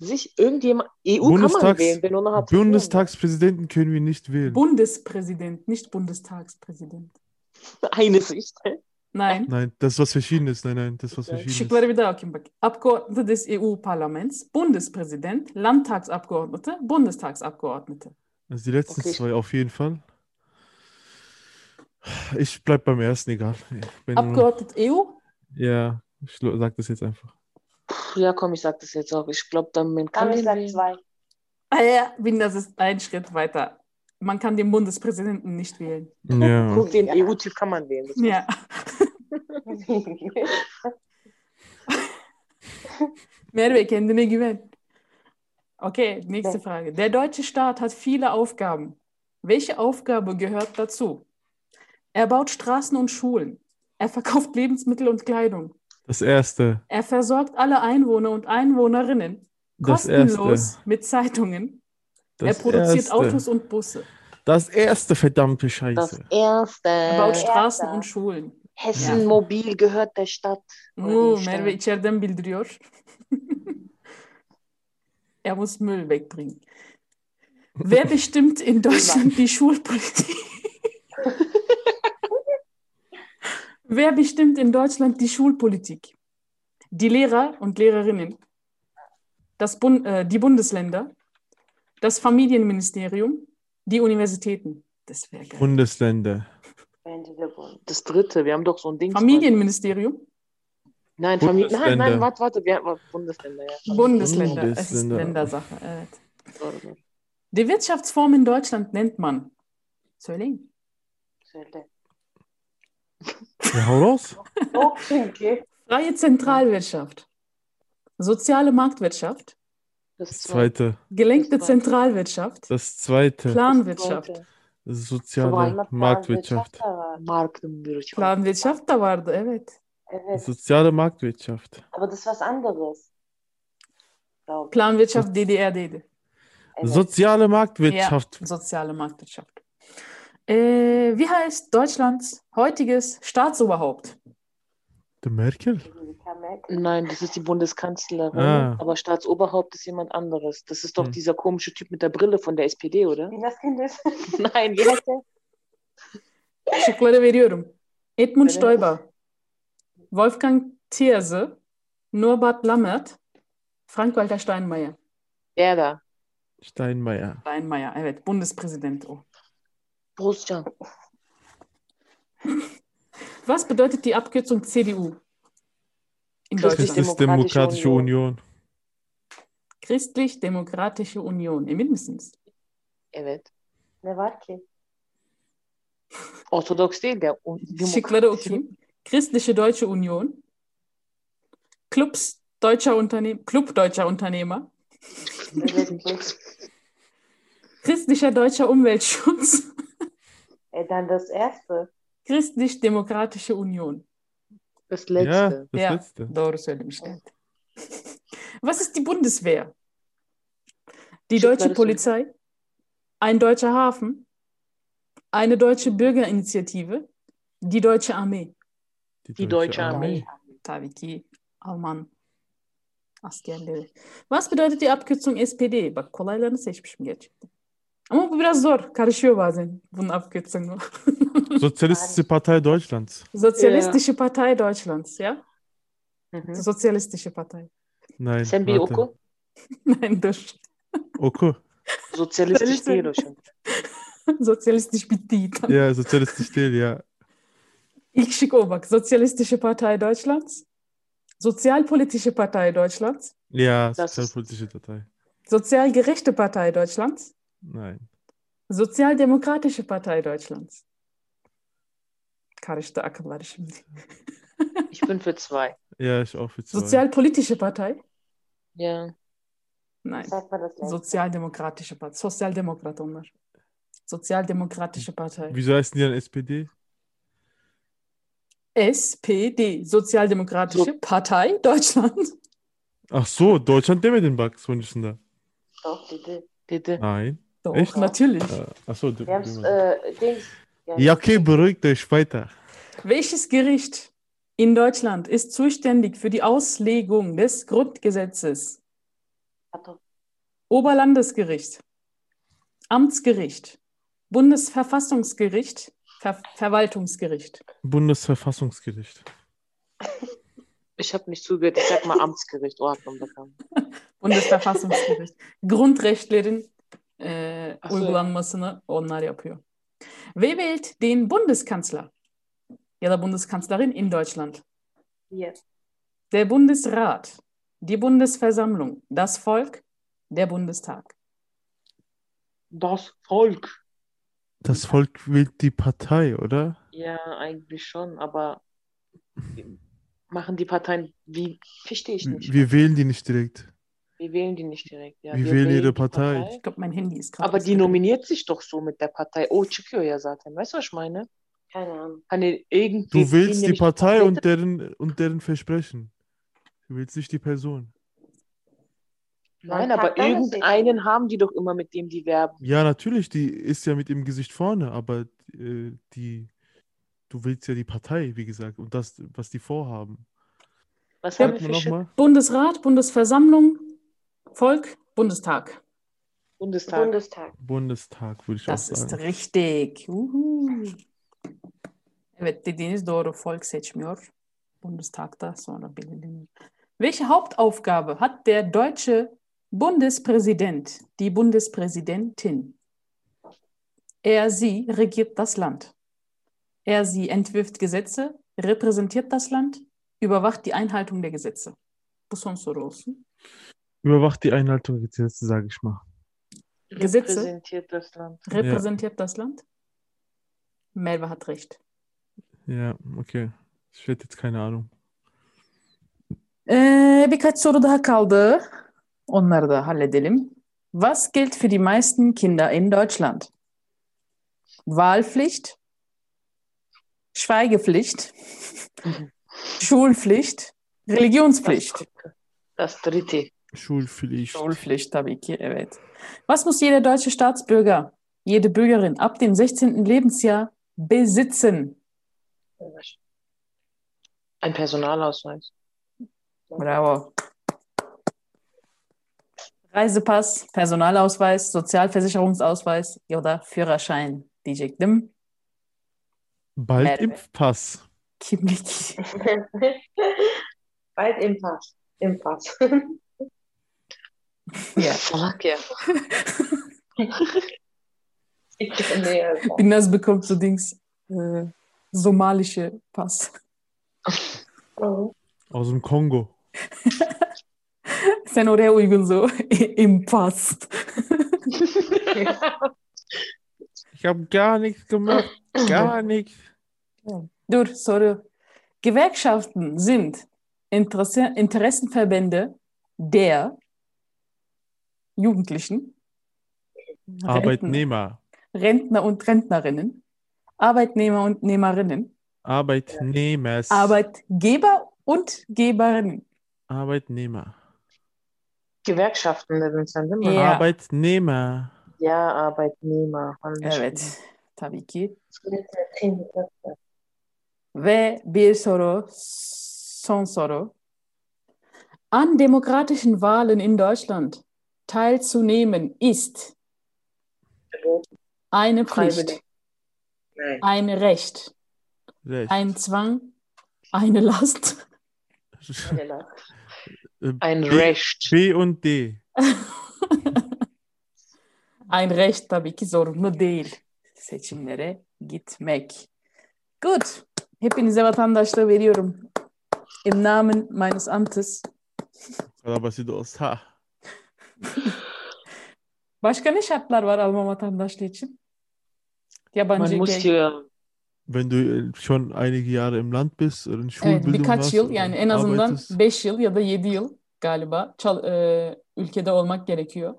Speaker 2: Sich irgendjemand, EU kann man
Speaker 3: Bundestags-
Speaker 2: wählen, wenn ohne hat. (laughs)
Speaker 3: Bundestagspräsidenten können wir nicht wählen.
Speaker 1: Bundespräsident, nicht Bundestagspräsident.
Speaker 2: Eines işte.
Speaker 1: Nein.
Speaker 3: Nein, das ist was Verschiedenes. Nein, nein, das ist was
Speaker 2: Güzel.
Speaker 3: Verschiedenes.
Speaker 1: Şıkları bir daha okuyayım bak. Abgeordnete des E EU-Parlaments, Bundespräsident, Landtagsabgeordnete, Bundestagsabgeordnete.
Speaker 3: Also die letzten
Speaker 2: Okay.
Speaker 3: zwei auf jeden Fall. Ich bleib beim ersten, egal. Wenn du-
Speaker 1: Abgeordnet EU,
Speaker 3: ja, ich lo- sag das jetzt einfach.
Speaker 2: Puh, Ja, komm, ich sag das jetzt auch. Ich glaube, damit kann
Speaker 4: Tamam
Speaker 2: ich
Speaker 4: ich sag zwei.
Speaker 1: ah ja, bin das ist ein Schritt weiter. Man kann den Bundespräsidenten nicht wählen.
Speaker 3: Ja.
Speaker 2: Guck, den
Speaker 4: Ja.
Speaker 2: EU-Typ kann man wählen. Das
Speaker 1: Ja. (laughs) Merve, kendine güven. Okay, nächste
Speaker 4: Ja.
Speaker 1: Frage. Der deutsche Staat hat viele Aufgaben. Welche Aufgabe gehört dazu? Er baut Straßen und Schulen. Er verkauft Lebensmittel und Kleidung.
Speaker 3: Das erste.
Speaker 1: Er versorgt alle Einwohner und Einwohnerinnen
Speaker 3: Das erste.
Speaker 1: kostenlos mit Zeitungen.
Speaker 3: Das
Speaker 1: er produziert
Speaker 3: erste.
Speaker 1: Autos und Busse,
Speaker 3: Das erste verdammte
Speaker 2: Das
Speaker 3: Scheiße.
Speaker 1: Er baut
Speaker 2: erste.
Speaker 1: Straßen
Speaker 4: Erste.
Speaker 1: und Schulen.
Speaker 2: Hessen Mobil gehört der Stadt. Öyle
Speaker 1: Oo,
Speaker 2: işte.
Speaker 1: Merve içeriden bildiriyor. (laughs) er muss Müll wegbringen. Wer bestimmt in Deutschland die Schulpolitik? Wer bestimmt in Deutschland die Schulpolitik? Die Lehrer und Lehrerinnen, das Bun äh, die Bundesländer, das Familienministerium, die Universitäten. Das wäre geil.
Speaker 3: Bundesländer.
Speaker 4: (laughs) Bence de bu.
Speaker 2: Das dritte, wir haben doch so ein Ding.
Speaker 1: Familienministerium,
Speaker 2: Nein, Familie.
Speaker 3: Bundesländer.
Speaker 2: Nein, nein, warte, warte. Wir haben Bundesländer. Ja.
Speaker 1: Bundesländer. Es ist
Speaker 3: Bundesländer.
Speaker 1: Ländersache. äh. Evet.
Speaker 2: Doğru, doğru.
Speaker 1: Die Wirtschaftsform in Deutschland nennt man. Söyleyin.
Speaker 4: Söyle.
Speaker 3: Ja, hau
Speaker 1: (laughs)
Speaker 3: raus.
Speaker 4: Yok çünkü.
Speaker 1: Freie Zentralwirtschaft. Soziale Marktwirtschaft.
Speaker 2: Das
Speaker 3: Das zweite.
Speaker 1: Gelenkte
Speaker 2: Das war-
Speaker 1: Zentralwirtschaft.
Speaker 3: Das zweite.
Speaker 1: Planwirtschaft.
Speaker 3: Soziale Marktwirtschaft.
Speaker 4: da var.
Speaker 2: Markenbürger.
Speaker 1: Planwirtschaft da vardı evet.
Speaker 4: Evet.
Speaker 3: Soziale Marktwirtschaft.
Speaker 4: Aber das ist was anderes. Glaube ich.
Speaker 1: Planwirtschaft DDR'deydi.
Speaker 4: Evet.
Speaker 3: Soziale Marktwirtschaft.
Speaker 1: Soziale Marktwirtschaft. Äh, wie heißt Deutschlands heutiges Staatsoberhaupt?
Speaker 3: Der Merkel?
Speaker 4: Mükemmel.
Speaker 2: Nein, das ist die Bundeskanzlerin.
Speaker 3: Ah.
Speaker 2: Aber Staatsoberhaupt ist jemand anderes. Das ist doch
Speaker 3: Hm.
Speaker 2: dieser komische Typ mit der Brille von der SPD, oder?
Speaker 4: Wie das Kind ist.
Speaker 2: Nein, wie heißt der?
Speaker 1: Şıkları veriyorum. Edmund
Speaker 2: Evet.
Speaker 1: Stoiber, Wolfgang Thierse, Norbert Lammert, Frank-Walter Steinmeier.
Speaker 2: Der da.
Speaker 3: Steinmeier.
Speaker 1: Steinmeier, evet, Bundespräsident Oh. o.
Speaker 2: Brustcan.
Speaker 1: Was bedeutet die Abkürzung CDU in
Speaker 2: Christlich-
Speaker 1: Deutschland?
Speaker 3: Christlich-Demokratische Union.
Speaker 1: Christlich-Demokratische Union, emin misiniz?
Speaker 2: Evet.
Speaker 4: (laughs) Ne var ki?
Speaker 2: Ortodoks değil der. Un-
Speaker 1: Şıkları
Speaker 2: Demokrat-
Speaker 1: okuyayım. Christliche Deutsche Union, Clubs deutscher Unternehmen, Club deutscher Unternehmer,
Speaker 4: Evet bu.
Speaker 1: Christlicher deutscher Umweltschutz, (laughs)
Speaker 4: E,
Speaker 2: Äh,
Speaker 4: dann das erste.
Speaker 1: Christlich-Demokratische Union.
Speaker 2: Das
Speaker 3: Ja,
Speaker 2: letzte.
Speaker 3: das
Speaker 1: Ja.
Speaker 3: letzte.
Speaker 1: Doğru söylemişler. (laughs) Was ist die Bundeswehr? Die
Speaker 2: Şıkları
Speaker 1: deutsche
Speaker 2: söyle.
Speaker 1: Polizei, ein deutscher Hafen, eine deutsche Bürgerinitiative, die deutsche Armee.
Speaker 2: Die deutsche Armee.
Speaker 1: Tabii ki Alman askerleri. Was bedeutet die Abkürzung SPD? Bak kolaylarını seçmişim gerçekten. Ama bu biraz zor. Karışıyor bazen bunun Abkürzungen.
Speaker 3: Sozialistische Partei Deutschlands.
Speaker 1: Sozialistische Partei Deutschlands, ja?
Speaker 2: Hı hı.
Speaker 1: Sozialistische Partei.
Speaker 3: Nein.
Speaker 2: Sen bir
Speaker 3: warte.
Speaker 2: oku.
Speaker 1: Nein, (laughs) dur.
Speaker 3: Oku.
Speaker 2: Sosyalistik
Speaker 1: Söylesene.
Speaker 2: değil o şimdi.
Speaker 1: Sozialistisch bitti. Tamam.
Speaker 3: Ja, sozialistisch değil ja.
Speaker 1: İlk şık o bak. oh, Sozialistische Partei Deutschlands, Sozialpolitische Partei Deutschlands,
Speaker 3: Ja,
Speaker 2: Das ist-
Speaker 3: sozialpolitische Partei.
Speaker 1: Sozial gerechte Partei Deutschlands,
Speaker 3: Nein.
Speaker 1: Sozialdemokratische Partei Deutschlands. Karıştı akılları şimdi.
Speaker 2: Ich bin für zwei.
Speaker 3: Ja, ich auch für zwei.
Speaker 1: Sozialpolitische Partei?
Speaker 2: Ja.
Speaker 1: Nein.
Speaker 4: Sag mal das erste.
Speaker 1: Sozialdemokratische Partei. Sozialdemokrat onlar. Sozialdemokratische Partei.
Speaker 3: Wieso heißen die dann SPD?
Speaker 1: SPD. Sozialdemokratische Partei Deutschland.
Speaker 3: Ach so, Deutschland demedin bak sonucunda.
Speaker 4: Doch dedi.
Speaker 2: Dedi.
Speaker 3: Nein.
Speaker 1: Doch,
Speaker 3: Echt?
Speaker 1: natürlich.
Speaker 3: Äh, Ach so, de-
Speaker 4: Wir haben
Speaker 3: demedin.
Speaker 4: äh, Dings. Yani,
Speaker 3: Ja, okay, beruhigt euch weiter.
Speaker 1: Welches Gericht in Deutschland ist zuständig für die Auslegung des Grundgesetzes?
Speaker 4: Atom.
Speaker 1: Oberlandesgericht, Amtsgericht, Bundesverfassungsgericht, Ver Verwaltungsgericht.
Speaker 3: Bundesverfassungsgericht.
Speaker 2: Ich habe nicht zugehört. Ich sag mal Amtsgericht. Ordnung bekommen. (laughs)
Speaker 1: Bundesverfassungsgericht. Grundrechtlerin e,
Speaker 2: Ach so.
Speaker 1: uygulanmasını onlar yapıyor. Wer wählt den Bundeskanzler? Ya da Bundeskanzlerin in Deutschland.
Speaker 4: Hier.
Speaker 1: Der Bundesrat, die Bundesversammlung, das Volk, der Bundestag.
Speaker 2: Das Volk.
Speaker 3: Das Volk wählt die Partei, oder?
Speaker 2: Ja, eigentlich schon, aber machen die Parteien, wie, verstehe ich
Speaker 3: Wir
Speaker 2: nicht.
Speaker 3: wir wählen die nicht direkt.
Speaker 2: Wir wählen die nicht direkt. Ja,
Speaker 3: Wir
Speaker 2: wir
Speaker 3: wählen jede
Speaker 2: die
Speaker 3: Partei.
Speaker 1: Ich glaube, mein Handy ist gerade.
Speaker 2: Aber die
Speaker 1: ausgegangen.
Speaker 2: nominiert sich doch so mit der Partei. Oh, çıkıyor ja zaten. Weißt du, was ich meine?
Speaker 4: Keine Ahnung.
Speaker 2: Hani irgendwie
Speaker 3: Du willst die
Speaker 2: nämlich-
Speaker 3: Partei und deren, und deren Versprechen. Du willst nicht die Person.
Speaker 2: Nein,
Speaker 4: Man
Speaker 2: aber
Speaker 4: packt alles
Speaker 2: irgendeinen haben die doch immer, mit dem die werben.
Speaker 3: Ja, natürlich, die ist ja mit dem Gesicht vorne, aber äh, die, du willst ja die Partei, wie gesagt, und das, was die vorhaben.
Speaker 2: Was haben
Speaker 3: Sag
Speaker 2: wir für
Speaker 3: mal
Speaker 2: Shit?
Speaker 3: nochmal.
Speaker 1: Bundesrat, Bundesversammlung, Volk, Bundestag.
Speaker 2: Bundestag.
Speaker 4: Bundestag.
Speaker 3: Bundestag, würde ich
Speaker 1: Das
Speaker 3: auch
Speaker 1: ist
Speaker 3: sagen.
Speaker 1: richtig. Uhu. Evet dediğiniz doğru. Volk seçmiyor. Bundestag'da sonra belirleniyor. Welche Hauptaufgabe hat der deutsche Bundespräsident, die Bundespräsidentin? Er, sie regiert das Land. Er, sie entwirft Gesetze, repräsentiert das Land, überwacht die Einhaltung der Gesetze. Bu son soru olsun.
Speaker 3: Überwacht die Einhaltung der Gesetze, sage ich mal.
Speaker 1: Gesetze.
Speaker 2: Repräsentiert das Land.
Speaker 1: Repräsentiert das Land? Melva hat recht.
Speaker 3: Ja, okay. Ich hätte jetzt keine Ahnung.
Speaker 1: Ee, birkaç soru daha kaldı. Onları da halledelim. Was gilt für die meisten Kinder in Deutschland? Wahlpflicht, Schweigepflicht, Schulpflicht, Religionspflicht.
Speaker 2: Das dritte.
Speaker 3: Schulpflicht.
Speaker 1: Schulpflicht tabii ki, evet. Was muss jeder deutsche Staatsbürger, jede Bürgerin ab dem 16. Lebensjahr besitzen?
Speaker 2: Ein Personalausweis.
Speaker 1: Bravo. Reisepass, Personalausweis, Sozialversicherungsausweis ya da Führerschein diyecektim.
Speaker 3: Bald
Speaker 1: Merve.
Speaker 3: Impfpass.
Speaker 1: Kimlik.
Speaker 4: (laughs) Bald Impass.
Speaker 2: (laughs)
Speaker 4: Impass.
Speaker 1: Ya.
Speaker 2: Salak ya.
Speaker 4: (laughs) Ich nee, also.
Speaker 1: Binnaz bekommt so Dings äh, somalische Pass. (laughs)
Speaker 4: Oh.
Speaker 3: Aus dem Kongo.
Speaker 1: Sen oraya uygun so. (laughs) Impass.
Speaker 3: Ich habe gar nichts gemacht. Gar nichts.
Speaker 1: Dur soru. Gewerkschaften sind Interesse Interessenverbände der Jugendlichen, Rentner.
Speaker 3: Arbeitnehmer.
Speaker 1: Rentner und Rentnerinnen, Arbeitnehmer und Nehmerinnen,
Speaker 3: Arbeitnehmers.
Speaker 1: Arbeitgeber und Geberinnen.
Speaker 3: Arbeitnehmer.
Speaker 2: Gewerkschaften dedin sen değil mi?
Speaker 1: Ja.
Speaker 3: Arbeitnehmer.
Speaker 2: Ya Arbeitnehmer. Anlaşıldı.
Speaker 1: Evet, tabii ki.
Speaker 4: Bitte.
Speaker 1: Ve bir soru, son soru. An demokratischen Wahlen in Deutschland teilzunehmen ist eine Pflicht,
Speaker 2: Freiwillig. Nein.
Speaker 1: ein Recht,
Speaker 3: Recht.
Speaker 1: ein Zwang, eine Last.
Speaker 2: Ein
Speaker 3: B-
Speaker 2: Recht.
Speaker 3: B und D.
Speaker 1: Ein Recht tabii ki zorunlu değil. Seçimlere gitmek. Good. Hepinize vatandaşlığı veriyorum. Im Namen meines Amtes.
Speaker 3: O kadar basit olsa.
Speaker 1: Başka ne şartlar var Alman vatandaşlığı için?
Speaker 2: Man
Speaker 1: Yabancı
Speaker 2: muss
Speaker 1: ülke.
Speaker 2: hier
Speaker 3: Wenn du äh, schon einige Jahre im Land bist, eine
Speaker 1: Evet,
Speaker 3: Schulbildung
Speaker 1: birkaç
Speaker 3: hast,
Speaker 1: yıl yani en azından
Speaker 3: arbeitest.
Speaker 1: 5 yıl ya da 7 yıl galiba çal- e, ülkede olmak gerekiyor.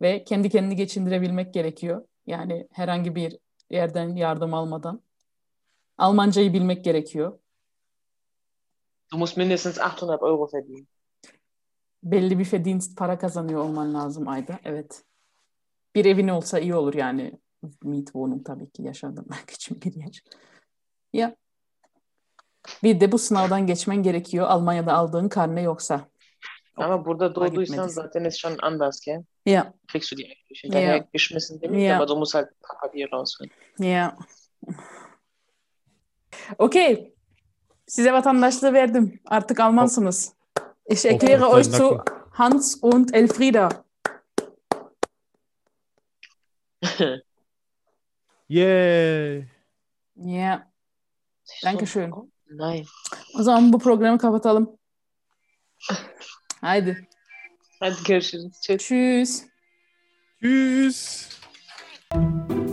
Speaker 1: Ve kendi kendini geçindirebilmek gerekiyor. Yani herhangi bir yerden yardım almadan. Almancayı bilmek gerekiyor.
Speaker 2: Du musst mindestens 800 Euro verdienen.
Speaker 1: belli bir verdienst para kazanıyor olman lazım ayda. Evet. Bir evin olsa iyi olur yani. Mietwohnung tabii ki (laughs) yaşadırmak için bir yer. Ya. Bir de bu sınavdan geçmen gerekiyor. Almanya'da aldığın karne yoksa. Oh,
Speaker 2: Aber burada doğduysan
Speaker 1: gitmediysen.
Speaker 2: zaten ist schon anders, gell?
Speaker 1: Ja.
Speaker 2: Kriegst du die eigentlich
Speaker 1: Ja.
Speaker 2: hinterher geschmissen, damit,
Speaker 1: Ja.
Speaker 2: aber du musst halt ein paar Papiere rausholen.
Speaker 1: Ya. Okey. Size vatandaşlığı verdim. Artık Almansınız. Ich erkläre
Speaker 3: Hoffentlich
Speaker 1: euch zu Hans und Elfrieda.
Speaker 3: Yay.
Speaker 1: Yeah. Dankeschön.
Speaker 2: So, nein.
Speaker 1: O zaman bu programı kapatalım. Haydi.
Speaker 2: Hadi görüşürüz. Tschüss.
Speaker 1: Tschüss.
Speaker 3: Tschüss.